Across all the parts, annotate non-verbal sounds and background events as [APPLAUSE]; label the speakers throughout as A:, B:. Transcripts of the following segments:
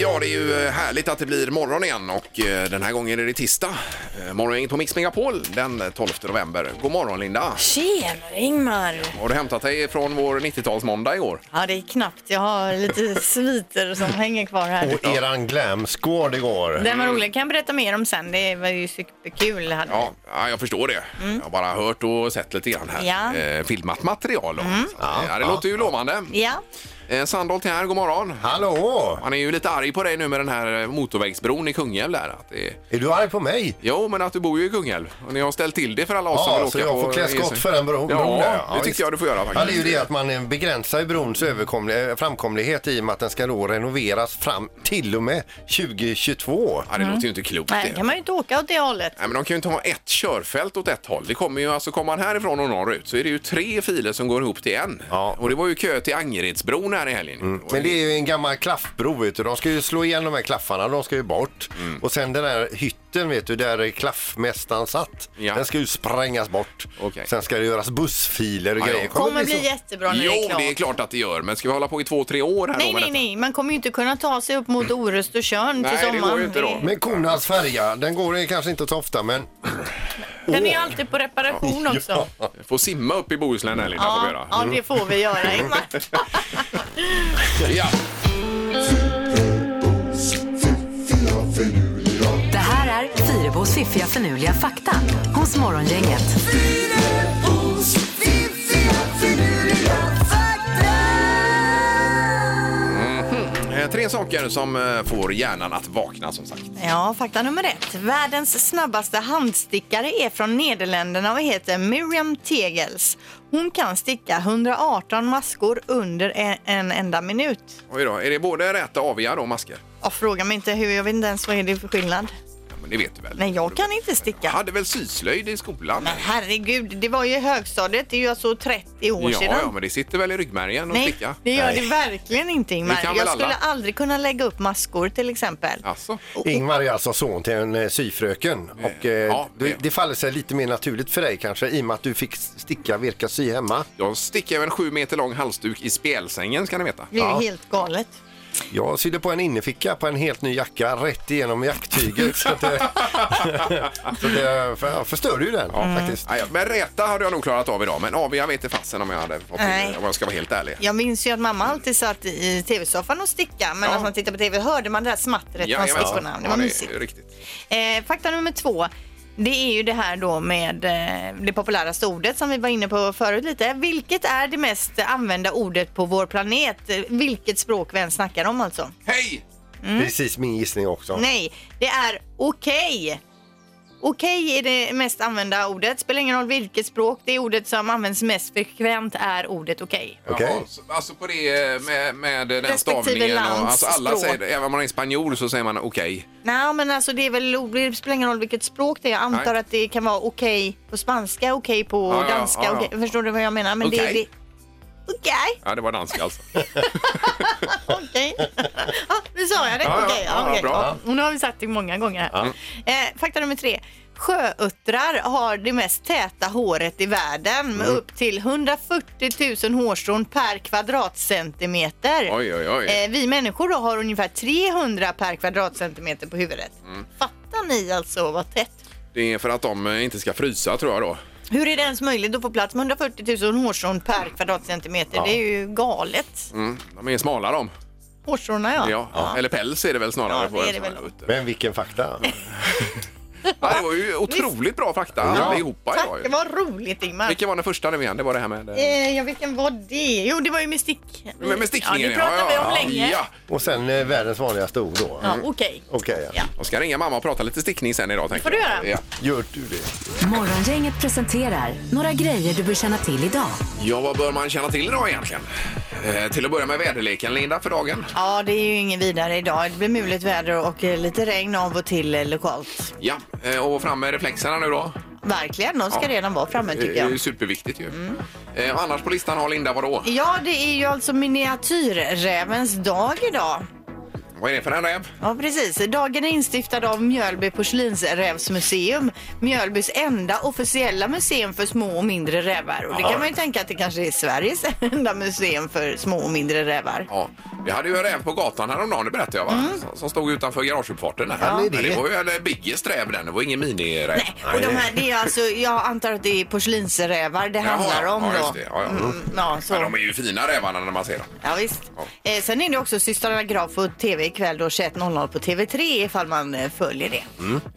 A: Ja, det är ju eh, härligt att det blir morgon igen och eh, den här gången är det tisdag. Eh, Morgongänget på Mix Megapol den 12 november. God morgon Linda!
B: Tjenare Ingmar!
A: Har du hämtat dig från vår 90-talsmåndag igår?
B: Ja, det är knappt. Jag har lite sviter som hänger kvar här.
C: Och eran glamsgård igår.
B: Den var rolig. kan jag berätta mer om sen. Det var ju superkul. Hade
A: Ja, ja, jag förstår det.
C: Mm.
A: Jag har bara hört och sett lite grann här.
B: Ja.
A: Eh, filmat material. Då.
C: Mm.
A: Så, eh, Ja, det låter ju lovande.
B: vi. Ja,
A: Eh, Sandholt här, god morgon!
C: Hallå!
A: Man är ju lite arg på dig nu med den här eh, motorvägsbron i Kungälv där. Att det är...
C: Är du arg på mig?
A: Jo, men att du bor ju i Kungälv och ni har ställt till det för alla oss
C: Ja,
A: som vill åka
C: så jag
A: på
C: får klä skott för en bro.
A: Ja,
C: bro där.
A: det tycker
C: visst.
A: jag du får göra
C: Ja, det är ju
A: faktiskt.
C: det att man begränsar ju brons överkomli- framkomlighet i och med att den ska då renoveras fram till och med 2022.
A: Ja, det låter ju inte klokt
B: Mm. nej,
A: det.
B: kan man ju inte åka åt det hållet.
A: Nej, men de kan ju inte ha ett körfält åt ett håll. Det kommer ju, alltså kommer man härifrån och norrut så är det ju tre filer som går ihop till en.
C: Ja. Mm.
A: Och det var ju kö till Angeredsbron här i helgen.
C: Men det är ju en gammal klaffbro, vet du. De ska ju slå igen de här klaffarna, de ska ju bort.
A: Mm.
C: Och sen den där hytten, vet du, där klaffmästaren satt.
A: Ja.
C: Den ska ju sprängas bort.
A: Okej.
C: Sen ska det göras bussfiler och
A: Ja, ja.
C: grejer. liksom-
B: Kommer
C: så-
B: bli jättebra när
A: Jo,
B: det är klart.
A: det är klart att det gör. Men ska vi hålla på i två, tre år här
B: Nej,
A: då med detta?
B: nej, nej. Man kommer ju inte kunna ta sig upp mot Orust och Tjörn till
A: Nej, det går
B: sommaren.
A: ju inte då.
C: Men konans färja, den går ju kanske inte så ofta men
B: Den är ju alltid på reparation också. Ja,
A: Får simma upp i Bohuslän här Linda, får vi göra.
B: ja, det får vi göra Ingmar.
A: Ja.
D: Det här är Fyrabos fiffiga förnuliga fakta hos Morgongänget.
A: Eh, Tre saker som eh, får hjärnan att vakna som sagt.
B: Ja, fakta nummer ett. Världens snabbaste handstickare är från Nederländerna och heter Miriam Tegels. Hon kan sticka 118 maskor under en, en enda minut.
A: Oj då, är det både räta och aviga då, masker?
B: Och fråga mig inte hur, jag vet inte ens vad är det för skillnad.
A: Ja, men det vet du väl?
B: Nej, jag kan inte
A: Jag
B: sticka.
A: hade väl syslöjd i skolan?
B: Men herregud, det var ju i högstadiet, det är ju alltså 30 år
A: ja,
B: sedan.
A: ja, men det sitter väl i ryggmärgen och
B: Nej,
A: sticka?
B: det gör
C: Nej.
B: det verkligen inte
A: Det
B: Ingmar.
A: kan
B: Jag
A: väl
B: skulle
A: alla.
B: aldrig kunna lägga upp maskor till exempel.
A: Alltså.
C: Ingmar är alltså son till en eh, syfröken
B: Mm.
C: och eh,
A: Ja, det-
C: det, det faller sig lite mer naturligt för dig kanske i och med att du fick sticka virka sy hemma.
A: Jag stickade en sju meter lång halsduk i spjälsängen ska ni veta.
B: Det är ju
C: Ja.
B: helt galet.
C: Jag sydde på en innerficka på en helt ny jacka rätt igenom
B: [LAUGHS]
C: jacktyget [LAUGHS] så att det, så det för, jag förstörde ju den faktiskt.
A: Nej, men räta hade jag nog klarat av idag, men aviga vet inte fasen om jag hade fått till
B: Nej.
A: det, om jag ska vara helt ärlig.
B: Jag minns ju att mamma alltid satt i tv-soffan och sticka men
A: Ja.
B: när man tittade på tv hörde man det där smattret från
A: Jajamensan.
B: stickorna. Det
A: Ja,
B: var mysigt.
A: är riktigt.
B: Eh, fakta nummer två. Det är ju det här då med eh, det populäraste ordet som vi var inne på förut lite. Vilket är det mest använda ordet på vår planet? Eh, Vilket språk vi än snackar om alltså?
A: Hej!
C: Precis min gissning också.
B: Mm. Nej, det är okej. Okej är det mest använda ordet. Spelar ingen roll vilket språk. Det ordet som används mest frekvent är ordet okej.
C: Okej.
A: Jaha, så- alltså på det med, med den
B: Respektive
A: stavningen. och,
B: lands
A: alltså alla
B: språk.
A: säger det, även om man är spanjor så säger man okej.
B: Nej, men alltså det, är väl, det spelar ingen roll vilket språk det är. Jag antar
A: Nej.
B: att det kan vara okej på spanska, okej på
A: Ja, ja,
B: danska.
A: ja, ja.
B: okej- Förstår du vad jag menar? Men det är
A: Okej.
B: det. Okej,
A: Ja, det var danska
B: [LAUGHS]
A: alltså. [LAUGHS]
B: okej. Ja, Nu sa jag det.
A: Ja, ja,
B: Okej,
A: ja,
B: ja, okej.
A: bra.
B: Och Nu har vi sagt det många gånger här. Eh, fakta nummer tre. Sjöuttrar har det mest täta håret i världen
A: Mm.
B: med upp till 140 000 hårstrån per kvadratcentimeter.
A: Oj, oj, oj.
B: Eh, vi människor då har ungefär 300 per kvadratcentimeter på huvudet.
A: Mm.
B: Fattar ni alltså vad tätt?
A: Det är för att de eh, inte ska frysa tror jag då.
B: Hur är det ens möjligt att få plats med 140 000 hårstrån per kvadratcentimeter? Det är ju galet.
A: Mm, de är smala de.
B: Hårstråna ja.
A: Ja. Eller päls är det väl snarare.
B: Ja,
A: på
B: det
A: en
B: är det
A: sån
B: väl.
A: här ute.
C: Men vilken fakta.
A: Ja, det var ju otroligt bra fakta allihopa idag.
B: Tack, det
A: ju.
B: var roligt Ingmar.
A: Vilken var den första nu igen? Det var det här med... eh,
B: Eh, ja, vilken var det? Jo, det var ju med stick.
A: Med, med stickningen
B: Ja, det pratade vi om länge.
A: Ja. Mm.
C: Och sen eh, världens vanligaste ord då.
B: Ja, okej.
C: Okej, ja.
B: Ja.
A: Jag ska ringa mamma och prata lite stickning sen idag. Tänker
B: får du
A: jag.
B: göra.
A: Ja.
C: gör du det?
D: Morgongänget presenterar några grejer du bör känna till idag.
A: ja, vad bör man känna till idag egentligen? Eh, till att börja med väderleken, Linda, för dagen.
B: Ja, det är ju inget vidare idag. Det blir muligt väder och eh, lite regn av och till eh, lokalt.
A: Ja, eh, och fram med reflexerna nu då.
B: Verkligen, de ska
A: Ja.
B: redan vara framme tycker
A: Det är
B: jag. Mm.
A: ju superviktigt ju. Eh, och annars på listan har Linda vadå?
B: Ja, det är ju alltså miniatyrrävens dag idag.
A: Vad är det för en räv?
B: Ja, precis. Dagen är instiftad av Mjölby porslinsrävsmuseum. Mjölbys enda officiella museum för små och mindre rävar. Och det kan man ju tänka att det kanske är Sveriges [LAUGHS] enda museum för små och mindre rävar.
A: Ja, vi hade ju en räv på gatan häromdagen, det berättade jag va?
B: Mm.
A: Som, som stod utanför garageuppfarten. där.
C: Ja, men
A: Men
C: det-
A: det var ju en biggest räv den, det var ingen miniräv.
B: Nej, och de här, det är alltså, jag antar att det är porslinsrävar det
A: Jaha,
B: handlar om
A: ja,
B: då.
A: just det. Ja, ja.
B: Mm, ja, så.
A: Men de är ju fina rävarna när man ser dem.
B: Ja, visst.
A: Ja.
B: Eh, sen är det också systrarna Graf på tv ikväll då 21.00 på TV3 ifall man eh, följer det.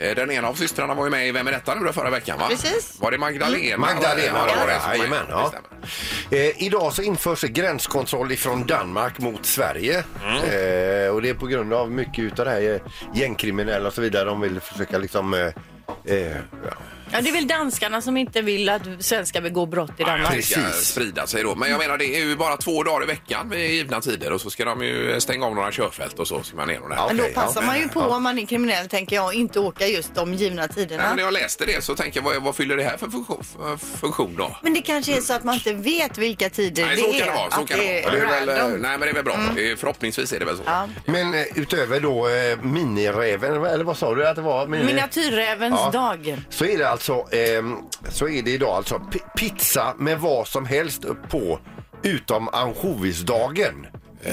A: Eh, Den ena av systrarna var ju med i Vem är detta nu då förra veckan va?
B: Precis.
A: Var det Magdalena?
C: Mm. Magdalena
A: det
C: var
A: som var
C: det. Jajamän,
A: med.
C: ja.
A: Det stämmer.
C: Eh, idag så införs gränskontroll från Danmark mot Sverige. Eh, och det är på grund av mycket utav det här eh, gängkriminella och så vidare. De vill försöka liksom... Eh, eh, ja.
E: Ja, det är väl danskarna som inte vill att svenskar begår brott i Danmark.
A: Det ska
C: Precis.
A: sprida sig då. Men jag menar det är ju bara två dagar i veckan vid givna tider och så ska de ju stänga av några körfält och så ska man ner och där.
C: Ja.
B: Men då
C: Okej,
B: passar
C: ja.
B: man ju på om man är kriminell tänker jag och inte åka just de givna tiderna.
A: Nej, men när jag läste det så tänkte jag vad, vad fyller det här för funktion, för funktion då?
B: Men det kanske är så att man inte vet vilka tider
A: Nej,
B: det
A: så
B: är.
A: kan det vara. Så
B: att
A: kan det vara.
B: är
A: Det är väl, eh,
B: random.
A: nej, men det är väl bra. Eh, Förhoppningsvis är det väl så.
B: Ja.
C: Men eh, utöver då eh, miniräven, eller vad sa du att det var?
A: eh, mm.
C: Mini-
E: Miniatyrrävens
C: Ja.
E: dag.
C: Så är det alltså, ehm, så är det idag alltså pi- pizza med vad som helst på utom ansjovisdagen.
A: Eh,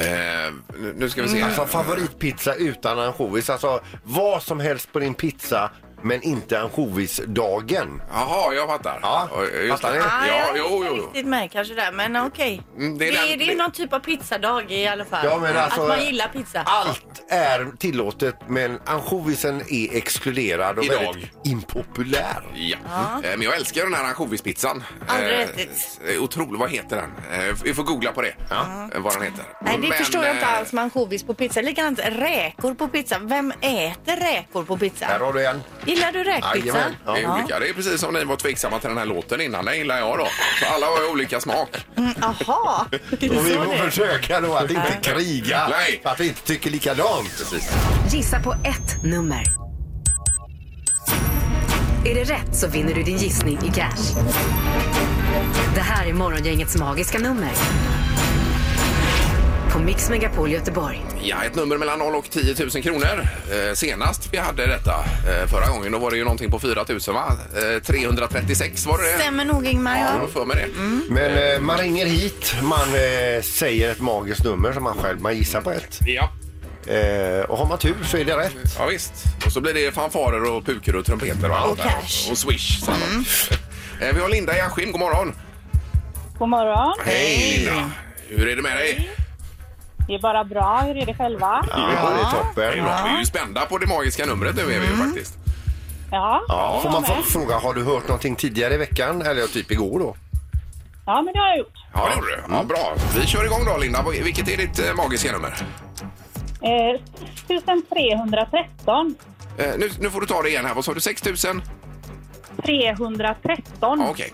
A: nu- nu ska vi se.
C: Alltså favoritpizza utan ansjovis. Alltså vad som helst på din pizza men inte ansjovisdagen.
A: Jaha, jag fattar.
C: Ja,
A: just
C: fattar
A: det.
C: ni?
E: Ah,
A: Ja,
E: jag är
A: jo,
E: inte
A: jo.
E: riktigt med kanske där, men okej.
A: Mm, det
E: det,
A: är
E: är
A: den-
E: det är någon typ av pizzadag i alla fall.
C: Ja, men alltså-
E: att man gillar pizza.
A: Ah,
C: Allt är tillåtet men ansjovisen är exkluderad och
A: Idag.
C: väldigt impopulär.
A: Ja. Eh, Men jag älskar den här ansjovispizzan.
E: Aldrig
A: Eh,
E: ätit.
A: eh, Otroligt. Vad heter den? Eh, Vi får googla på det. Eh, Vad den heter.
B: Nej, det
A: Men,
B: förstår jag inte
A: eh,
B: alls med ansjovis på pizza. Likadant räkor på pizza. Vem äter räkor på
C: Här
B: pizza?
C: har du en.
E: Gillar du räkpizza?
C: Jajamän.
A: Det är,
C: Ja.
A: olika. det är precis som ni var tveksamma till den här låten innan. Den gillar jag då. Så alla har ju olika smak. [LAUGHS]
B: Jaha!
C: Och vi får försöka då att inte kriga.
A: Nej.
C: Att vi inte tycker likadant.
D: Gissa på ett nummer. Är det rätt så vinner du din gissning i cash. Det här är Morgongängets magiska nummer. På Mix Megapol Göteborg.
A: Ja, ett nummer mellan 0 och 10 000 kronor. Eh, senast vi hade detta eh, förra gången då var det ju någonting på 4 000 va? Eh, 336 var det det?
B: Stämmer Mm. nog Ingmar.
A: Eh. Ja,
B: Ja.
A: jag har för mig det.
C: Men eh, man ringer hit, man eh, säger ett magiskt nummer som man själv man gissar på ett.
A: Ja.
C: Eh, och har man tur så är det rätt.
A: ja, visst. Och så blir det fanfarer och pukor och trumpeter och allt
B: Och
A: där.
B: cash.
A: Och swish. sen. [LAUGHS] Eh, vi har Linda i Askim. God morgon.
F: God morgon.
A: Hej Linda. Hur är det med dig?
F: Det är bara bra. Hur är det själva?
C: Ja, det är
A: Det är
C: toppen.
A: bra. Vi är ju spända på det magiska numret nu är vi ju faktiskt.
F: Ja,
C: Ja, får
F: jag
C: man få-
F: med.
C: fråga, har du hört någonting tidigare i veckan? Eller typ igår då?
F: Ja, men det har jag gjort.
A: Ja, Mm. det gjorde du. Ja, bra. Vi kör igång då Linda. Vad- Vilket är ditt eh, magiska nummer?
F: Eh, 1313.
A: Eh, nu, nu får du ta det igen här. Vad sa du? 6 000?
F: 313.
A: Ja, Okej.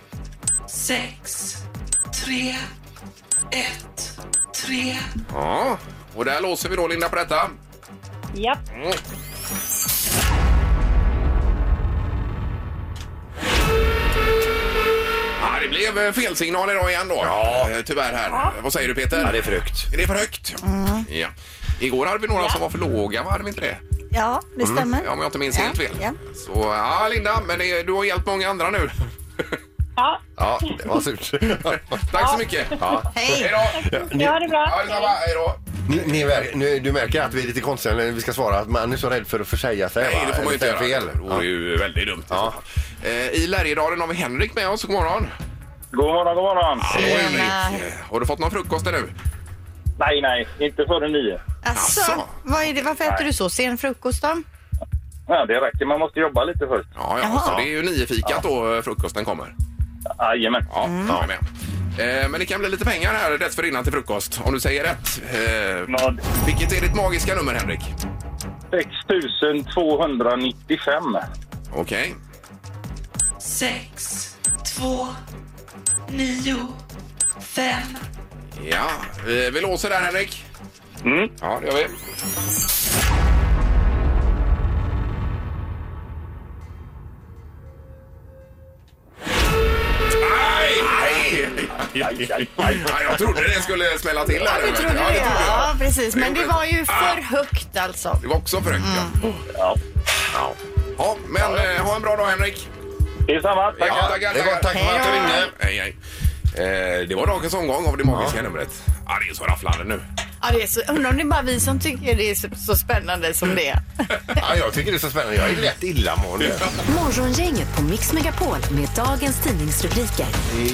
A: Ja, och där låser vi då Linda på detta.
F: Japp.
A: Ja, det blev eh, felsignal idag igen då. Ja. Mm. Tyvärr här. Vad säger du Peter?
C: Ja, det är för högt.
A: Är det för högt? Ja. Igår hade vi några som var för låga, va? hade vi inte det?
B: ja, det stämmer.
A: Mm. Ja, om jag inte minns
B: Ja,
A: helt fel.
B: ja.
A: Så ja, Linda, men det, du har hjälpt många andra [LAUGHS] nu.
F: Ja,
C: Ja, det
A: [LAUGHS]
C: var surt.
A: Tack så mycket. Ja. Hej
B: Hej!
A: då!
F: ni har det bra.
A: Ja, detsamma. Hej då!
C: ni, ni mär, nu, du märker att vi är lite konstiga när vi ska svara. Att man är så rädd för att försäga sig.
A: Nej,
C: va?
A: det får man ju inte
C: Eller
A: göra.
C: säga
A: Det vore
C: Fel.
A: ju väldigt dumt. i så
C: Ja.
A: fall. Eh, I Lärjedalen har vi Henrik med oss. God morgon!
G: God morgon, god morgon.
A: Hallå, Henrik. Eh, Har du fått någon frukost ännu?
G: Nej, nej, inte före nio.
B: Alltså,
A: Asså.
B: vad är det? varför äter du så sen frukost då?
G: Ja, det räcker, man måste jobba lite först.
A: Ja, ja.
B: Jaha.
A: Så det är ju niofikat då eh, frukosten kommer.
G: Jajamän.
A: Ja, jag är med. Eh, Men det kan bli lite pengar här dessförinnan till frukost om du säger rätt. Eh,
G: Nåd
A: Vilket är ditt magiska nummer, Henrik?
G: 6295.
A: Okej.
H: sex, två, nio, fem.
A: Ja, eh, vi låser där, Henrik.
G: Mm.
A: Ja, det gör vi. Nej! Nej!
G: aj, aj, aj.
A: Ja, jag trodde det skulle smälla till här.
B: Ja, du
A: men-
B: trodde
A: ja,
B: det?
A: trodde jag.
B: Ja, precis. Men det var ju
A: Ah,
B: för högt alltså.
A: Det var också för högt, ja.
G: Ja.
A: ja. Ja, men eh, ha en bra dag, Henrik.
G: Detsamma. Tackar.
A: Ja, tackar,
C: Det var
A: tackar.
C: tack för att du ringde.
A: Hej, hej. Eh, det var dagens omgång av det magiska numret. Ja, det är så rafflande nu.
B: Ja, det är så, undrar om det är bara vi som tycker det är så, så spännande som det är.
C: Ja, jag tycker det är så spännande. Jag är lätt illamående.
D: Morgongänget på Mix Megapol med dagens tidningsrubriker.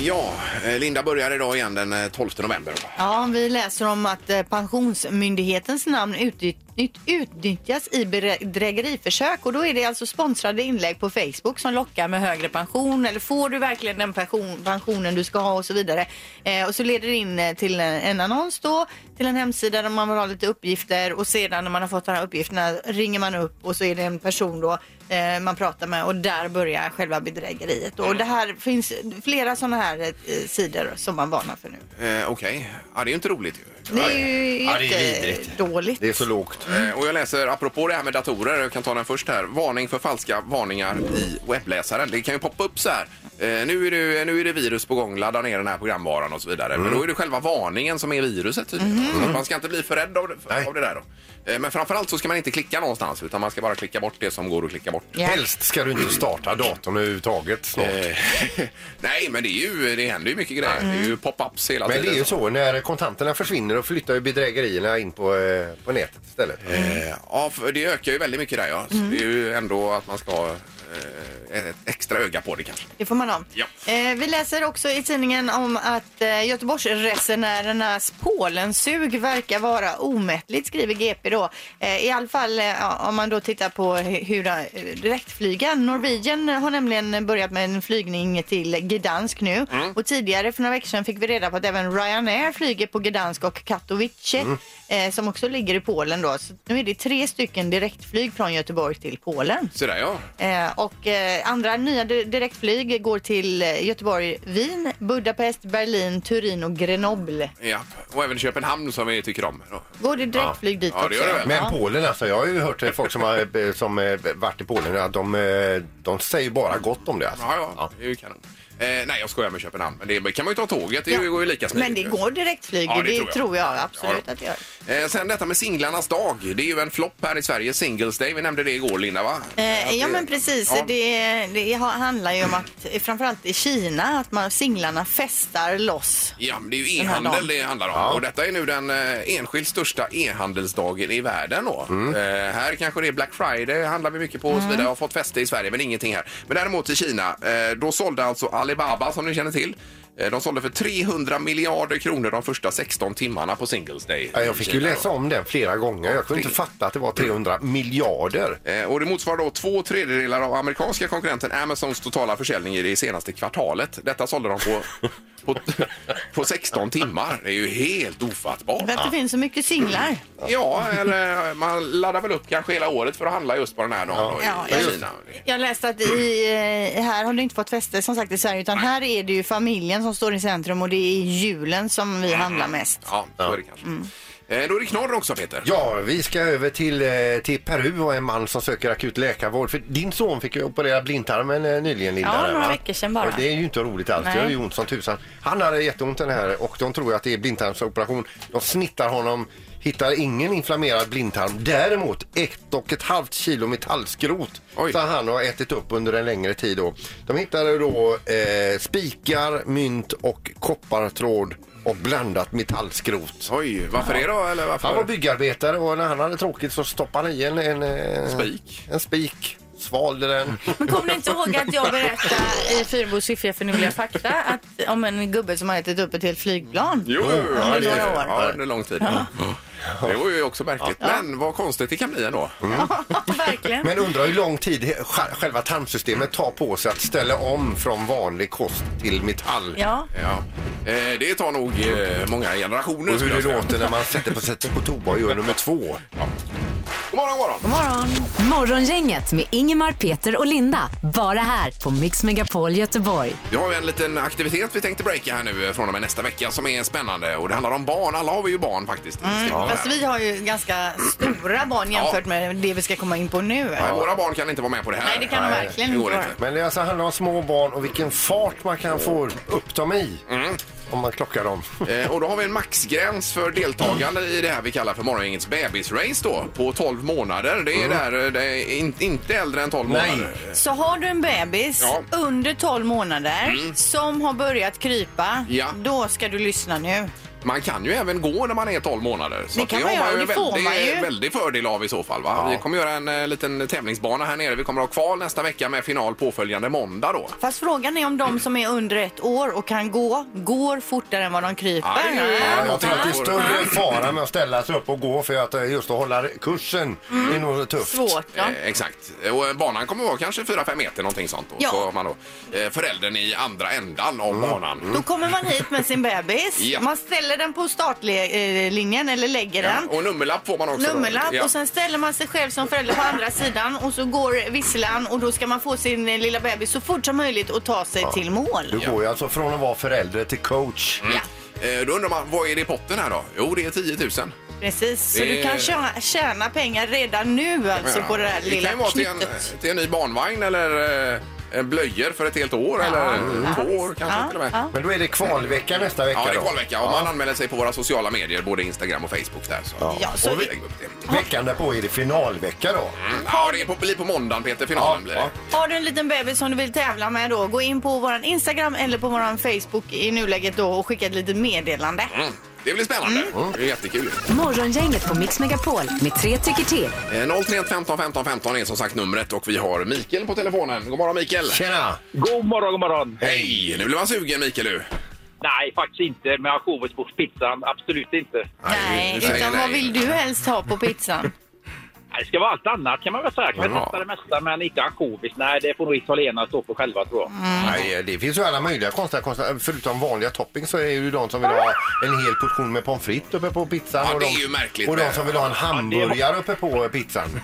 A: Ja, eh, Linda börjar idag igen den eh, 12 november.
B: Ja, vi läser om att eh, Pensionsmyndighetens namn utnytt, ut- utnyttjas i bedrägeriförsök och då är det alltså sponsrade inlägg på Facebook som lockar med högre pension eller får du verkligen den pension, pensionen du ska ha och så vidare. Eh, och så leder det in eh, till en, en annons då till en hemsida där man vill ha lite uppgifter och sedan när man har fått de här uppgifterna ringer man upp och så är det en person då eh, man pratar med och där börjar själva bedrägeriet. Och det här finns flera sådana här eh, sidor som man varnar för nu.
A: Eh, Okej, ja, det är ju inte roligt ju.
B: Det är ju
C: Ja, det är vidrigt.
B: jättedåligt.
C: Det är så lågt.
A: Eh, Och jag läser, apropå det här med datorer, jag kan ta den först här. Varning för falska varningar i webbläsaren. Det kan ju poppa upp så här. Eh, nu, är det, nu är det virus på gång, ladda ner den här programvaran och så vidare. Men då är det själva varningen som är viruset tydligen.
B: Mhm.
A: Så att man ska inte bli för rädd av, det-
C: Nej.
A: av det där då. Eh, men framförallt så ska man inte klicka någonstans utan man ska bara klicka bort det som går att klicka bort.
B: Ja.
C: Helst ska du inte starta datorn överhuvudtaget snart.
A: Eh, [LAUGHS] Nej, men det, är ju, det händer ju mycket grejer. Det är ju pop-ups hela
C: Men
A: tiden.
C: det är ju så, när kontanterna försvinner och flyttar ju bedrägerierna in på, eh, på nätet istället.
A: Eh, Ja, för det ökar ju väldigt mycket där ja. Så
B: Mm.
A: det är ju ändå att man ska ha eh, ett extra öga på det kanske.
B: Det får man ha.
A: Ja.
B: Eh, vi läser också i tidningen om att eh, Göteborgsresenärernas Polensug verkar vara omättligt, skriver GP då. Eh, I alla fall eh, ja, om man då tittar på hu- hur eh, direktflygen. Norwegian har nämligen börjat med en flygning till Gdansk nu. Och tidigare för några veckor sedan fick vi reda på att även Ryanair flyger på Gdansk och Katowice eh, som också ligger i Polen då. Så nu är det tre stycken direktflyg från Göteborg till Polen.
A: Så där ja.
B: Eh, och eh, andra nya di- direktflyg går till eh, Göteborg, Wien, Budapest, Berlin, Turin och Grenoble.
A: Ja, och även Köpenhamn som vi tycker om. Då.
B: Går det direktflyg dit
A: Ja, det
B: också?
A: gör det väl.
C: Men
B: Ja.
C: Polen alltså, jag har ju hört eh, folk som har eh, som, eh, varit i Polen att de, eh, de säger bara gott om det. Alltså.
A: Ja, ja, det är ju kanon. Eh, nej, jag skojar med Köpenhamn. Men det kan man ju ta tåget, det går ju lika smidigt.
B: Men det
A: ju.
B: går direktflyg,
A: Ja, det
B: det,
A: tror jag.
B: tror jag, absolut
A: Ja.
B: att det gör.
A: Eh, sen detta med singlarnas dag. Det är ju en flopp här i Sverige, Singles Day. Vi nämnde det igår, Linda, va? Att
B: Eh, ja
A: det-
B: men precis,
A: Ja.
B: Det, det har- handlar ju om att eh, framförallt i Kina att man, singlarna festar loss.
A: Ja, men det är ju
B: Den här
A: e-handel
B: dagen.
A: det handlar om. Och detta är nu den eh, enskilt största e-handelsdagen i världen. Då.
C: Mm.
A: Eh, här kanske det är Black Friday, handlar vi mycket på
B: Mm.
A: och så vidare. Jag har fått fäste i Sverige, men ingenting här. Men däremot i Kina, eh, då sålde alltså Alibaba, som ni känner till, eh, de sålde för 300 miljarder kronor de första 16 timmarna på Singles Day.
C: Ja, jag fick ju
A: Kina då.
C: läsa om den flera gånger. Jag kunde inte fatta att det var 300 miljarder.
A: Eh, Och det motsvarar då två tredjedelar av amerikanska konkurrenten Amazons totala försäljning i det senaste kvartalet. Detta sålde de på, på, på 16 timmar. Det är ju helt ofattbart.
B: För att det finns så mycket singlar.
A: Mm. Ja, eller man laddar väl upp kanske hela året för att handla just på den här dagen då, i,
B: Ja,
A: i
B: just-
A: Kina.
B: Jag läste att i, eh, här har du inte fått fäste som sagt i Sverige utan här är det ju familjen som står i centrum och det är julen som vi handlar mest.
A: Mm, Ja, så är det kanske.
B: Mm.
A: Eh, Då är det knorr också Peter.
C: Ja, vi ska över till, eh, till Peru och en man som söker akut läkarvård. För din son fick ju operera blindtarmen eh, nyligen, Linda.
E: Ja,
C: där,
E: några
C: va?
E: veckor sedan bara.
C: Och det är ju inte roligt alls. Det
E: Nej.
C: gör ju ont som tusan. Han hade jätteont den här och de tror att det är blindtarmsoperation. De snittar honom, hittar ingen inflammerad blindtarm. Däremot ett och ett halvt kilo metallskrot
A: Oj.
C: som han har ätit upp under en längre tid. Då. De hittade då eh, spikar, mynt och koppartråd och blandat metallskrot.
A: Oj, varför det då? Eller
C: Han var
A: varför?
C: byggarbetare och när han hade tråkigt så stoppade han i en, en, eh,
A: Spik.
C: En spik. Svalde den.
E: Men kommer ni inte ihåg att jag berättade i Fyrbos fiffiga förnuliga fakta att om en gubbe som har ätit upp ett helt flygplan?
A: Jo, ja,
B: under
A: det,
B: några år.
A: ja, under lång tid. Det var ju också märkligt. Men vad konstigt det kan bli ändå.
E: Verkligen.
C: Men undrar hur lång tid he- sj- själva tarmsystemet tar på sig att ställa om från vanlig kost till metall.
E: Ja.
A: Ja. Eh, Det tar nog eh, många generationer.
C: Och hur
A: skulle
C: det
A: jag säga.
C: låter när man sätter på, sätter på toa och gör nummer två.
A: God morgon, god morgon.
D: Morgongänget med Ingemar, Peter och Linda. Bara här på Mix Megapol Göteborg.
A: Vi har ju en liten aktivitet vi tänkte breaka här nu eh, från och med nästa vecka som är spännande. Och det handlar om barn. Alla har vi ju barn faktiskt. Ja.
B: Mm, Fast vi har ju ganska stora barn jämfört med det vi ska komma in på nu.
A: Nej, Våra barn kan inte vara med på det här.
B: Nej, det kan de verkligen
A: det går
B: inte vara.
A: inte.
C: Men det alltså handlar om små barn och vilken fart man kan få upp dem i. om man klockar dem.
A: Eh, och då har vi en maxgräns för deltagande i det här vi kallar för morgongängets bebisrace då, på 12 månader. Det är, där, eh, det är in, inte äldre än 12
C: Nej.
A: månader.
B: Så har du en bebis
A: Ja. Mm.
B: under 12 månader som har börjat krypa,
A: Ja.
B: då ska du lyssna nu.
A: Man kan ju även gå när man är 12 månader. Så
B: Det
A: att
B: kan
A: det
B: man
A: har man
B: göra,
A: ju en
B: det får
A: väldig,
B: man ju.
A: väldig fördel av i så fall. Va? Vi kommer göra en eh, liten tävlingsbana här nere. Vi kommer ha kval nästa vecka med final påföljande måndag då.
B: Fast frågan är om de som är under ett år och kan gå, går fortare än vad de kryper.
A: Ja, det är-
B: Ja.
C: Jag tror att det är större fara med att ställa sig upp och gå för att eh, just att hålla kursen är nog tufft.
B: Svårt. Ja.
A: Eh, exakt. Och eh, banan kommer vara kanske 4-5 meter någonting sånt. Då.
B: Ja.
A: Så har man då eh, föräldern i andra ändan av banan.
B: Då kommer man hit med sin bebis.
A: Ja.
B: Man ställer den på startlinjen eller lägger
A: Ja,
B: den.
A: och nummerlapp får man också. då.
B: Nummerlapp
A: Ja.
B: och sen ställer man sig själv som förälder på andra sidan och så går visslan och då ska man få sin eh, lilla bebis så fort som möjligt och ta sig till mål.
C: Du går ju alltså från att vara förälder till coach.
B: Ja,
A: Eh, Då undrar man, vad är det i potten här då? Jo, det är 10 000.
B: precis. Så
A: Det-
B: du kan tjäna, tjäna pengar redan nu alltså på det här
A: det
B: lilla
A: kan ju vara till en,
B: knyttet.
A: till en ny barnvagn eller eh, en blöjor för ett helt år eller
B: mm.
A: två år kanske till och med.
C: Men då är det kvalvecka nästa vecka
A: Ja, det är
C: då.
A: kvalvecka och man anmäler sig på våra sociala medier, både Instagram och Facebook där. Så.
B: Ja, så
A: Och vi
B: det-
A: lägger upp det.
C: Veckan därpå är det finalvecka då.
A: Mm. Ja, det är på, blir på måndagen Peter, finalen blir det.
B: Har du en liten bebis som du vill tävla med då, gå in på vår Instagram eller på vår Facebook i nuläget då och skicka ett litet meddelande.
A: Mm. Det blir spännande. Mm. Det är jättekul.
D: Morgongänget på Mix Megapol med tre tycker till.
A: Eh, 031 15 15 15 är som sagt numret och vi har Mikael på telefonen. God morgon Mikael!
C: Tjena!
I: God morgon, god morgon.
A: Hej! Nu blir man sugen Mikael du.
I: Nej, faktiskt inte med ajourbordspizzan. Absolut inte.
B: Nej,
A: du säger
B: utan
A: nej.
B: vad vill du helst ha på pizzan?
I: Nej, Det ska vara allt annat kan man väl säga. Kan väl
A: Ja.
I: testa det mesta, men inte ansjovis. Nej, det får nog italienarna stå för själva tror jag.
G: Mm.
B: Mm.
C: Nej, eh, det finns ju alla möjliga konstiga, konstiga eh, förutom vanliga toppings så är det ju de som vill ha en hel portion med pommes frites uppe på pizzan.
A: Ja,
C: och
A: det
C: de,
A: är ju märkligt
C: Och de
A: med-
C: som vill ha en hamburgare uppe på [LAUGHS] pizzan.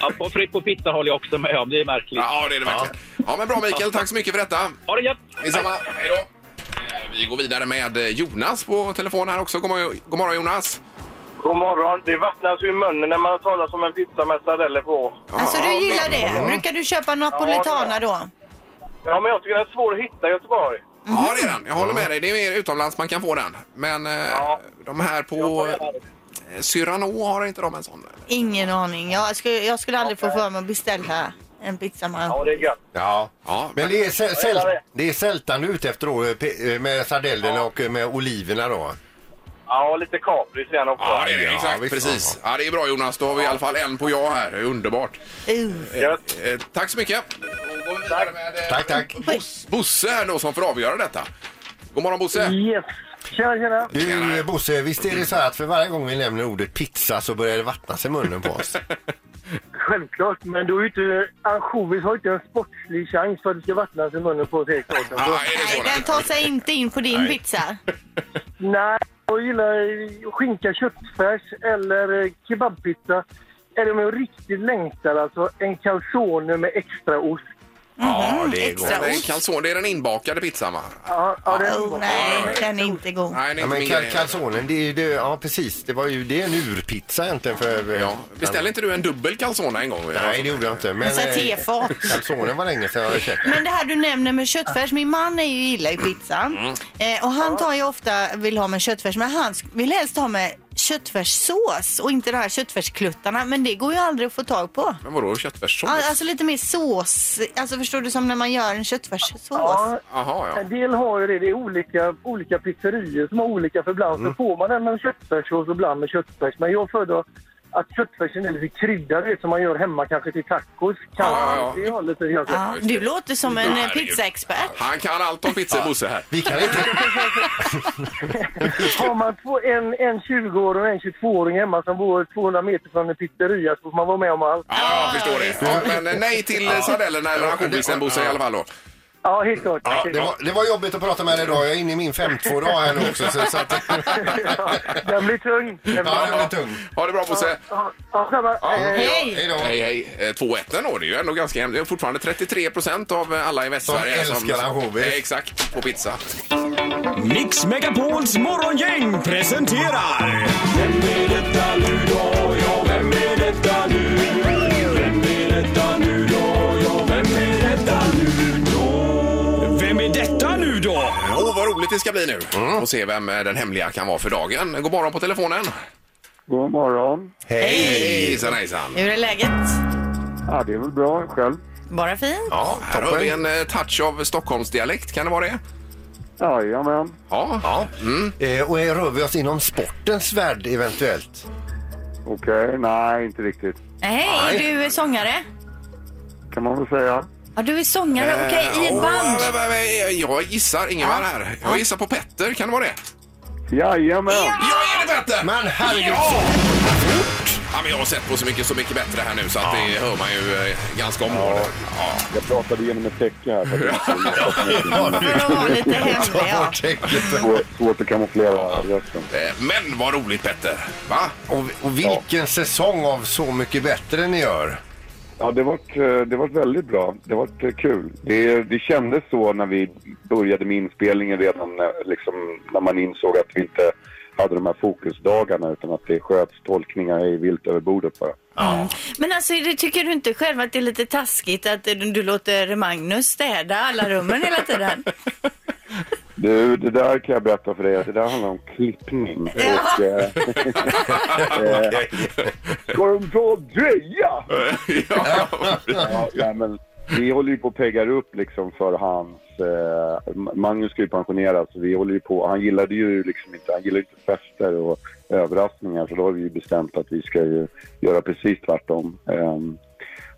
I: Ja, på fritt på pizza håller jag också med om. Det är märkligt.
A: Ja, det är det verkligen. Ja, men bra Mikael. Tack så mycket för detta.
I: Ha det gött!
A: Detsamma. Hej då. Eh, Vi går vidare med eh, Jonas på telefon här också. God morgon, God morgon Jonas.
J: God morgon. Det vattnas ju i munnen när man talar som en pizza med sardeller på.
B: Alltså du gillar det? Brukar du köpa napolitana då?
J: Ja, men jag tycker den är svår att hitta i Göteborg.
A: Ja, det är den. Jag håller med dig. Det är mer utomlands man kan få den. Men eh,
J: Ja.
A: de här på eh, Cyrano har inte de en sån. eller?
B: Ingen aning. Jag skulle, jag skulle aldrig få för mig att beställa en pizza med
J: Ja, det är gött.
C: Ja.
A: Ja,
C: Men det är, säl-
J: Jag gillar
C: säl-
J: det.
C: det är sältan du är ute efter då eh, pe- eh, med sardellerna och eh, med oliverna då.
J: Ja, och lite kapris igen också.
A: Ja, det är det.
C: Ja,
A: Exakt,
C: visst.
A: precis. Ja, det är bra Jonas. Då har vi i alla fall en på ja här. Det är Underbart.
B: Uh.
J: Gött.
A: Eh, tack så mycket. Då går vi vidare med eh,
C: Tack, tack.
A: Bos- Bosse här då som får avgöra detta. God morgon Bosse.
J: Yes. Tjena, tjena.
C: Du eh, Bosse, visst är det så här att för varje gång vi nämner ordet pizza så börjar det vattnas i munnen på oss?
J: Självklart, men då är ju inte... Ansjovis har ju inte en sportslig chans för att det ska vattnas i munnen på sig.
A: Ja, är det så?
B: Nej, den tar sig inte in på din pizza.
J: Nej, jag gillar skinka, köttfärs eller eh, kebabpizza. Eller om jag riktigt längtar, alltså en calzone med extra ost.
C: Ja, det är gott.
B: Extra
A: Nej,
B: ost.
A: calzone, det är den inbakade pizzan va?
J: Ja, ja, det är
B: Oh,
J: gott.
B: nej, den är inte god.
A: Nej, det är
C: Ja,
A: inte
C: men
A: min
C: cal-
A: grej.
C: calzonen, det är ju det, ja precis, det var ju det är en urpizza egentligen för... eh,
A: Ja. Beställde inte du en dubbel calzone en gång?
C: Nej, det gjorde jag inte. Men
B: Alltså,
C: eh,
B: tefat.
C: calzonen var länge sedan jag hade käkat.
B: Men det här du nämner med köttfärs, min man är ju gillar ju pizza. Eh, och han tar ju ofta, vill ha med köttfärs, men han sk- vill helst ha med köttfärssås och inte de här köttfärskluttarna. Men det går ju aldrig att få tag på.
A: Men vadå köttfärssås?
B: Al- Alltså lite mer sås, alltså förstår du som när man gör en köttfärssås.
J: Ja,
A: Jaha, ja.
J: En del har ju det. Det är olika, olika pizzerior som har olika för ibland så får man den med köttfärssås och ibland med köttfärs. Men jag föredrar att köttfärsen är lite kryddad, det som man gör hemma kanske till tacos. Kan
A: Ja, ja, ja.
J: Det alltså. har lite kanske.
B: Ja, du låter som en eh, pizzaexpert.
A: Han kan allt om pizza, Bosse här.
C: Vi kan inte...
J: Har man två, en, en 20-åring och en 22-åring hemma som bor 200 meter från en pizzeria så får man vara med om allt.
A: Ja, jag förstår det. Ja, men eh, nej till eh, sardellerna eller ansjovisen, Bosse, i alla fall då.
J: Ja, helt klart.
C: Ja, det, var, det var jobbigt att prata med dig idag. Jag är inne i min 52 dag här nu också. Så,
A: [LAUGHS]
C: så att,
J: Ja, Den blir tung. Den
C: ja, det
J: blir...
C: blir tung.
A: Ha det bra, Bosse.
J: Ja, ja, samma.
B: Hej!
C: Hej då.
A: Hej, hej. Eh, 2-1 ändå. Det är ju ändå ganska jämnt. Det är fortfarande 33 procent av eh, alla i Västsverige
C: Som älskar ansjovis.
A: Eh, Exakt, på pizza.
K: Mix Megapols morgongäng presenterar... Vem är detta nu då? Ja, vem är detta nu? Vem är detta nu då? Ja, vem är detta nu då? Vem är detta nu
L: nu då?
A: Åh, Eh, vad roligt det ska bli nu.
C: Mm.
A: Och se vem eh, den hemliga kan vara för dagen. God morgon på telefonen.
I: God morgon.
A: Hej! Hejsan hejsan.
B: Hur är läget?
I: Ja, det är väl bra. Själv?
B: Bara fint?
A: Ja, här har vi en eh, touch av Stockholmsdialekt. Kan det vara det?
I: Jajamän.
A: Ja.
C: Ja. Eh, och rör vi oss inom sportens värld eventuellt?
I: Okej, nej, inte riktigt.
E: Nej, är du sångare?
I: Kan man väl säga.
E: Ja, du är sångare. Okej, i ett
A: Eh,
E: band.
A: åh, vad- vad- vad- eh, Jag gissar Ingemar här. Jag gissar på Petter. Kan det vara det?
I: Jajamän.
A: Ja, är det Petter?
C: Men herregud!
A: Ja! Ja, men jag har sett på Så mycket Så mycket bättre här nu så att det hör man ju eh, ganska omgående. Ja.
I: Jag pratade genom ett täcke här. [LAUGHS] för att
B: För att vara lite hemlig. Ja.
I: Det är svårt- svårt att kamouflera rösten.
A: Eh, Men vad roligt Petter! Va?
C: Och, och vilken säsong av Så mycket bättre ni gör.
I: Ja, det var, eh, det var väldigt bra. Det var eh, kul. Det, det kändes så när vi började med inspelningen redan när- liksom, när man insåg att vi inte hade de här fokusdagarna utan att det sköts tolkningar i vilt över bordet bara.
B: Men alltså, det- tycker du inte själv att det är lite taskigt att eh, du låter Magnus städa alla rummen hela tiden?
I: Du, det där kan jag berätta för dig att det där handlar om klippning. Och, eh, eh, Ska de dra dröja?
A: [LAUGHS] Ja.
I: Ja, nej, men vi håller ju på och peggar upp liksom för hans... Eh, Magnus ska ju pensioneras. så Vi håller ju på, han gillade ju liksom inte, han gillade inte fester och överraskningar så då har vi ju bestämt att vi ska ju göra precis tvärtom. Ehm,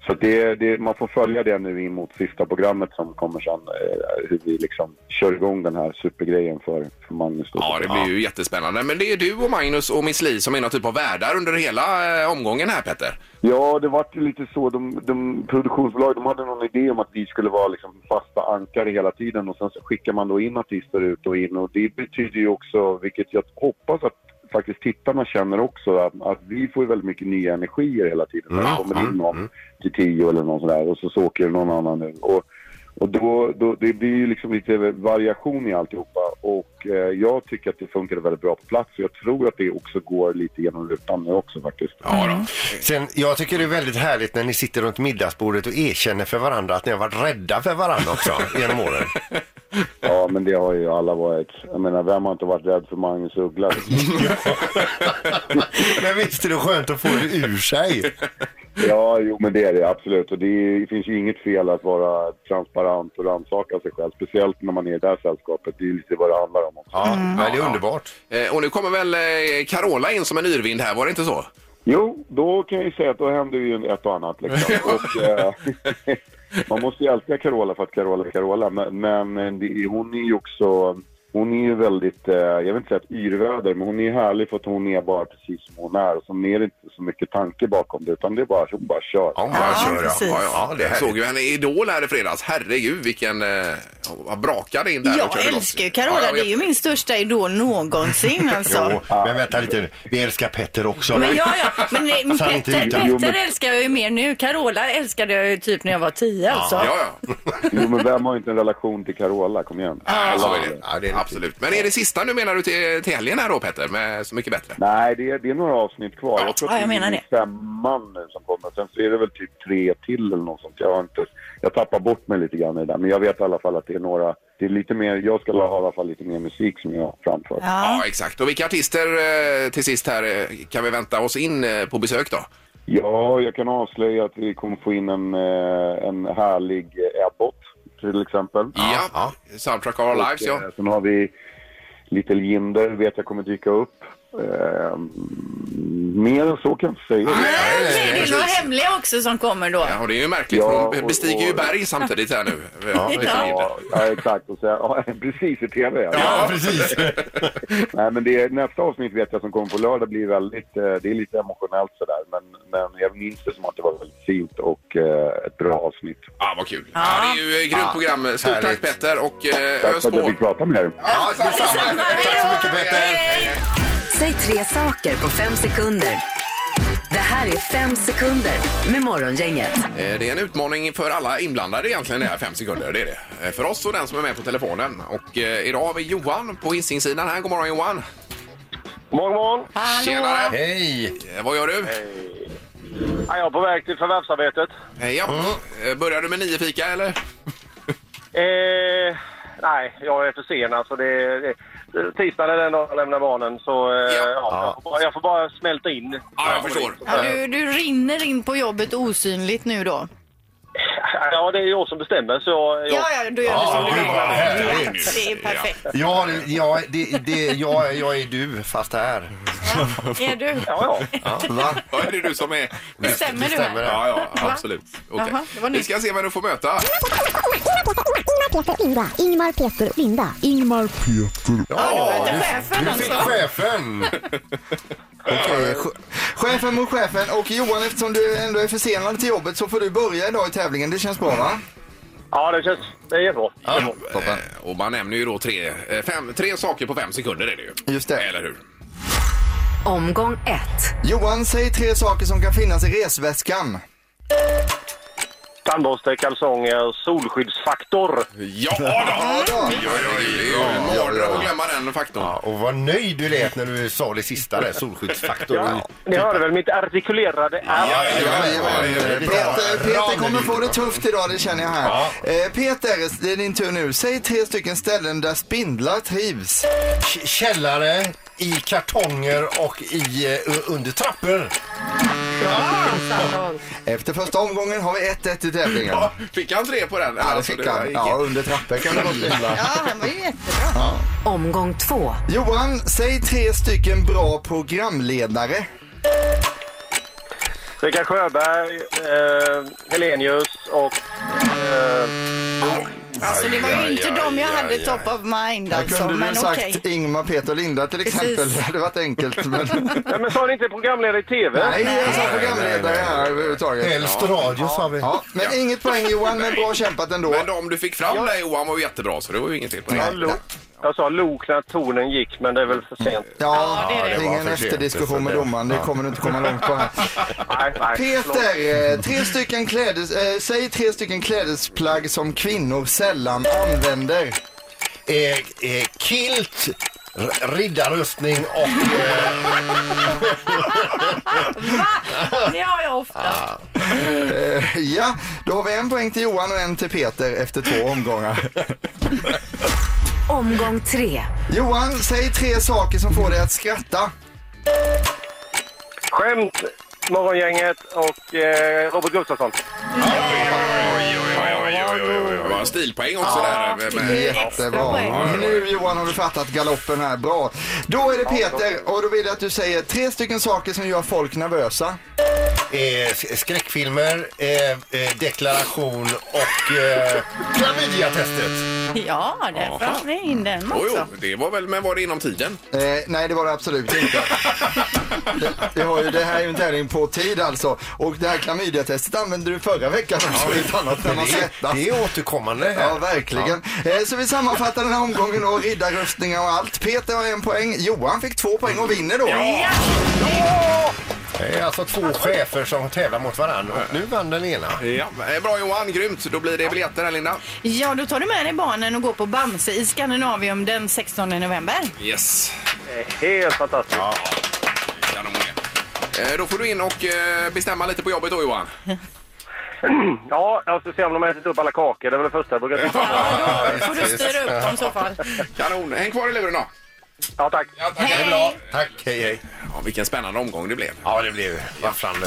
I: så det, det, man får följa det nu in mot sista programmet som kommer sen. Eh, hur vi liksom kör igång den här supergrejen för, för Magnus. då.
A: Ja, det blir ju jättespännande. Men det är du och Magnus och Miss Li som är någon typ av värdar under hela eh, omgången här, Petter.
I: Ja, det var ju lite så. De, de, produktionsbolag de hade någon idé om att vi skulle vara liksom fasta ankare hela tiden och sen så skickar man då in artister ut och in och det betyder ju också, vilket jag hoppas att faktiskt tittarna känner också, att, att vi får ju väldigt mycket nya energier hela tiden. När det kommer in någon till tio eller någon sån där och så, så åker någon annan nu. Och, och då, då, det blir ju liksom lite variation i alltihopa och eh, jag tycker att det funkade väldigt bra på plats och jag tror att det också går lite genom rutan nu också faktiskt.
A: Ja, då.
C: Sen, jag tycker det är väldigt härligt när ni sitter runt middagsbordet och erkänner för varandra att ni har varit rädda för varandra också genom åren.
I: Ja, men det har ju alla varit. Jag menar, vem har inte varit rädd för Magnus Uggla?
C: Men visst är det skönt att få det ur sig?
I: Ja, jo, men det är det absolut. Och det, är, det finns ju inget fel att vara transparent och rannsaka sig själv. Speciellt när man är i det här sällskapet. Det är ju lite vad det handlar om också.
C: Ja, men det är underbart.
A: Eh, Och nu kommer väl eh, Carola in som en yrvind här, var det inte så?
I: Jo, då kan jag ju säga att då händer ju ett och annat liksom. Och, eh, [LAUGHS] man måste ju älska Carola för att Carola är Carola. Men, men det, är- hon är ju också... Hon är ju väldigt, eh, jag vill inte säga ett yrväder, men hon är ju härlig för att hon är bara precis som hon är. Och så är det inte så mycket tanke bakom det, utan det är bara, hon bara kör.
C: Ja,
B: Ja,
C: kör, ja.
B: precis.
C: ja, ja, det är
A: Jag såg
C: härligt.
A: ju henne i Idol här i fredags. Herregud, vilken... Eh, vad brakade in där. och
B: Jag
A: körde loss.
B: älskar ju
A: Ja,
B: Carola,
A: jag
B: det
A: vet.
B: är ju min största idol någonsin alltså.
C: Jo, men vänta lite nu. Vi älskar Petter också.
E: Men ja, ja. Men nej,
B: eh,
E: men
C: Så han inte
E: Petter,
C: hittar.
I: Jo, men-
E: Petter älskar jag ju mer nu. Carola älskade jag ju typ när jag var tio alltså.
A: Ja, ja.
I: Jo, men vem har inte en relation till Carola? Kom igen.
A: Ja, så är det.
C: Ja, det är
A: Absolut. Men är det sista nu menar du till, till helgen här då Petter? Med Så mycket bättre?
I: Nej, det är, det är några avsnitt kvar.
A: Ja,
I: jag tror
E: ja,
I: att
E: jag
I: det är
E: menar det.
I: femman nu som kommer. Sen så är det väl typ tre till eller något sånt. Jag, har inte, jag tappar bort mig lite grann i det där. Men jag vet i alla fall att det är några... Det är lite mer, jag ska ha i alla fall lite mer musik som jag framför.
A: Ja,
B: Ja.
A: exakt. Och vilka artister eh, till sist här eh, kan vi vänta oss in eh, på besök då?
I: Ja, jag kan avslöja att vi kommer få in en, eh, en härlig eh, Abbott till exempel.
A: Ja, Soundtrack of Our Lives ja.
I: Och, eh, Sen har vi Little Jinder, vet jag kommer dyka upp. Eh, mer än så kan jag inte säga.
E: Nej,
C: nej,
E: det
C: nej,
E: är några hemliga också som kommer då.
A: Ja, och det är ju märkligt
I: Ja,
A: för de
I: och-
A: bestiger ju
I: och-
A: berg samtidigt här nu.
I: Ja, ja, exakt. Och sen, ja, [LAUGHS] precis i tv. Ja.
C: Ja, precis.
I: Nej, men det, är- nästa avsnitt vet jag som kommer på lördag blir väldigt, eh, det är lite emotionellt sådär. Men, men jag minns det som att det var väldigt fint och eh, ett bra avsnitt.
A: Ja, vad kul. Ja, det är ju ett grymt program. Stort tack
C: Härligt.
A: Petter och eh,
I: Tack
A: ös
I: för att jag
A: på.
I: fick prata med er.
C: Ja, detsamma. Tack så mycket Petter.
D: Säg tre saker på fem sekunder. Det här är fem sekunder med Morgongänget.
A: Eh, Det är en utmaning för alla inblandade egentligen det här fem sekunder. Det är det. Eh, För oss och den som är med på telefonen. Och eh, idag har vi Johan på Hisingssidan här. God morgon Johan!
I: Morgon, morgon.
A: Tjenare!
C: Hej!
A: Eh, Vad gör du?
I: Jag är på väg till förvärvsarbetet.
A: Eh, Ja. Eh, Börjar du med nio fika eller?
I: Eh,
J: Nej, jag är försenad. Så det, det, tisdagen är den dagen jag lämnar barnen. Så eh, ja. jag, får bara, jag får bara smälta in.
A: Ja, jag förstår.
B: Ja, du, du rinner in på jobbet osynligt nu då.
J: Ja, det är jag som bestämmer. Så jag,
B: Ja, ja, då gör vi
J: Ja,
B: så.
J: gud, vad härligt.
B: Det är perfekt.
C: Ja, det- ja, det, det, jag, jag är du, fast här.
B: Är du?
J: Ja,
C: ja. Va?
A: Ja, är det du som är...
B: Bestämmer du här?
A: Ja, ja,
B: Va?
A: absolut. Okej.
B: Jaha, det var nytt.
A: Vi ska se vem du får möta.
M: Ingmar, Peter, Ingvar. Ingmar, Peter, Linda. Ingmar, Peter.
C: Ja,
M: du-
C: du
B: alltså.
C: fick chefen!
K: Okej, che- Chefen mot chefen och Johan eftersom du ändå är försenad till jobbet så får du börja idag i tävlingen. Det känns bra va?
J: ja, det känns det är jättebra.
A: Ja, eh, Och man nämner ju då tre, eh, fem, tre saker på fem sekunder är det ju. Just det. Eller hur?
K: Omgång 1. Johan, säg tre saker som kan finnas i resväskan.
J: Tandborste, kalsonger, solskyddsfaktor.
A: Ja, då! ja, Det är ju en mardröm att glömma den faktorn.
C: Ja, och vad nöjd du lät när du sa det sista där, solskyddsfaktor.
J: Ja, ni hörde väl mitt artikulerade R?
K: Peter, Peter kommer få det tufft idag, det känner jag här. Eh, Peter, det är din tur nu. Säg tre stycken ställen där spindlar trivs.
C: Källare, i kartonger och i, eh, under trappor.
K: Efter första omgången har vi 1-1 i tävlingen.
A: Ja, fick han tre på den? Alltså,
K: Ja, det fick han. Ja, under trappor kan det vara spindlar.
B: han var ju jättebra.
K: Omgång två. Johan, säg tre stycken bra programledare.
J: Rickard Sjöberg, eh, Helenius och... Eh,
B: Alltså det var ju inte dem jag hade top of mind
K: Där
B: alltså,
K: kunde du ha
B: men
K: sagt
B: okej.
K: Ingmar, Peter och Linda till
B: Precis.
K: exempel. Det hade varit enkelt.
B: [LAUGHS]
K: Men...
J: Ja, men sa ni inte programledare i TV?
K: Nej, jag sa programledare här överhuvudtaget.
C: Helst radio sa vi.
K: Ja, men inget poäng Johan, men bra kämpat ändå.
A: Men de du fick fram där Johan var ju jättebra så det var ju inget fel på
J: Ja,
A: det.
J: lo- jag sa lok när tonen gick, men det är väl för sent.
K: Ja, det är ingen efterdiskussion med domaren. Det kommer du inte komma långt på här.
J: Nej,
K: [LAUGHS]
J: nej.
K: Peter, eh, tre stycken klädes, eh, säg tre stycken klädesplagg som kvinnor sällan använder. [LAUGHS]
C: Eh, eh, kilt, r- riddarrustning och...
E: Det har jag ofta.
K: Eh, ja, då har vi en poäng till Johan och en till Peter efter två [LAUGHS] omgångar.
D: Omgång tre.
K: Johan, säg tre saker som får dig att skratta.
J: Skämt, Morgongänget och eh, Robert Gustafsson.
A: Det var en stilpoäng också där. med- med-
K: Jättebra. Nu Johan har du fattat galoppen här. Bra. Då är det Peter och då vill jag att du säger tre stycken saker som gör folk nervösa.
C: Eh, s- skräckfilmer, eh, eh, deklaration och eh, klamydiatestet.
E: Ja, där försvann det in den
A: Jo,
E: också.
A: jo, det var väl, men var det inom tiden?
K: Eh, nej, det var det absolut inte. det, det, har ju, det här är ju en tävling på tid alltså. Och det här klamydiatestet använde du förra veckan också i ett annat när man
C: Det är-
K: svettas.
C: det är återkommande här.
K: Ja, verkligen. Eh, så vi sammanfattar den här omgången och riddarrustningar och allt. Peter har en poäng, Johan fick två poäng och vinner då.
C: Det är alltså två chefer som tävlar mot varandra och nu vann den ena.
A: Ja, eh, bra Johan, grymt. Då blir det biljetter här Linda.
B: Ja, då tar du med dig barnen och går på Bamse i Skandinavium den 16 november.
A: Yes.
J: Eh, Helt fantastiskt.
A: Ja. kanon det. Eh, Då får du in och eh, bestämma lite på jobbet då Johan.
J: ja, jag ska se om de har ätit upp alla kakor. Det var det första jag [LAUGHS] brukade titta på.
A: Får du styra upp dem i så fall. Kanon. Häng kvar i luren då.
J: Ja, tack.
A: Hej. Bra. Tack, hej, hej. Ja, vilken spännande omgång det blev. Ja, det blev vafflande.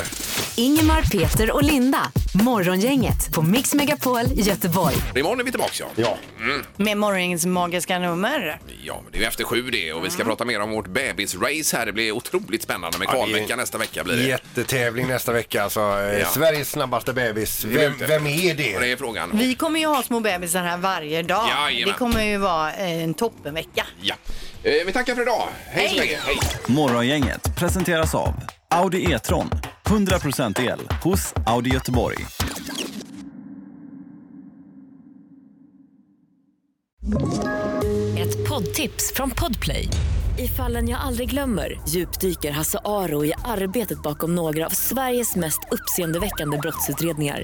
D: Ingemar, Peter och Linda. Morgongänget på Mix Megapol Göteborg.
A: Imorgon är vi tillbaka, ja. Ja. Mm.
B: Med morgonens magiska nummer.
A: ja men det är ju efter sju det och vi ska prata mer om vårt bebisrace här. Det blir otroligt spännande med kvalvecka nästa vecka blir det.
C: Jättetävling nästa vecka alltså. Eh,
A: Ja.
C: Sveriges snabbaste bebis.
A: är det
C: Vem,
A: inte.
C: vem är det?
A: Och det är frågan.
B: Vi kommer ju ha små bebisar här varje dag.
A: Jajamän.
B: Det kommer ju vara eh, en toppenvecka.
A: Ja. Eh, Vi tackar för idag. Hej så länge. Hej.
N: Morgongänget presenteras av Audi E-tron. 100% el hos Audi Göteborg.
O: Ett poddtips från Podplay. I fallen jag aldrig glömmer djupdyker Hasse Aro i arbetet bakom några av Sveriges mest uppseendeväckande brottsutredningar.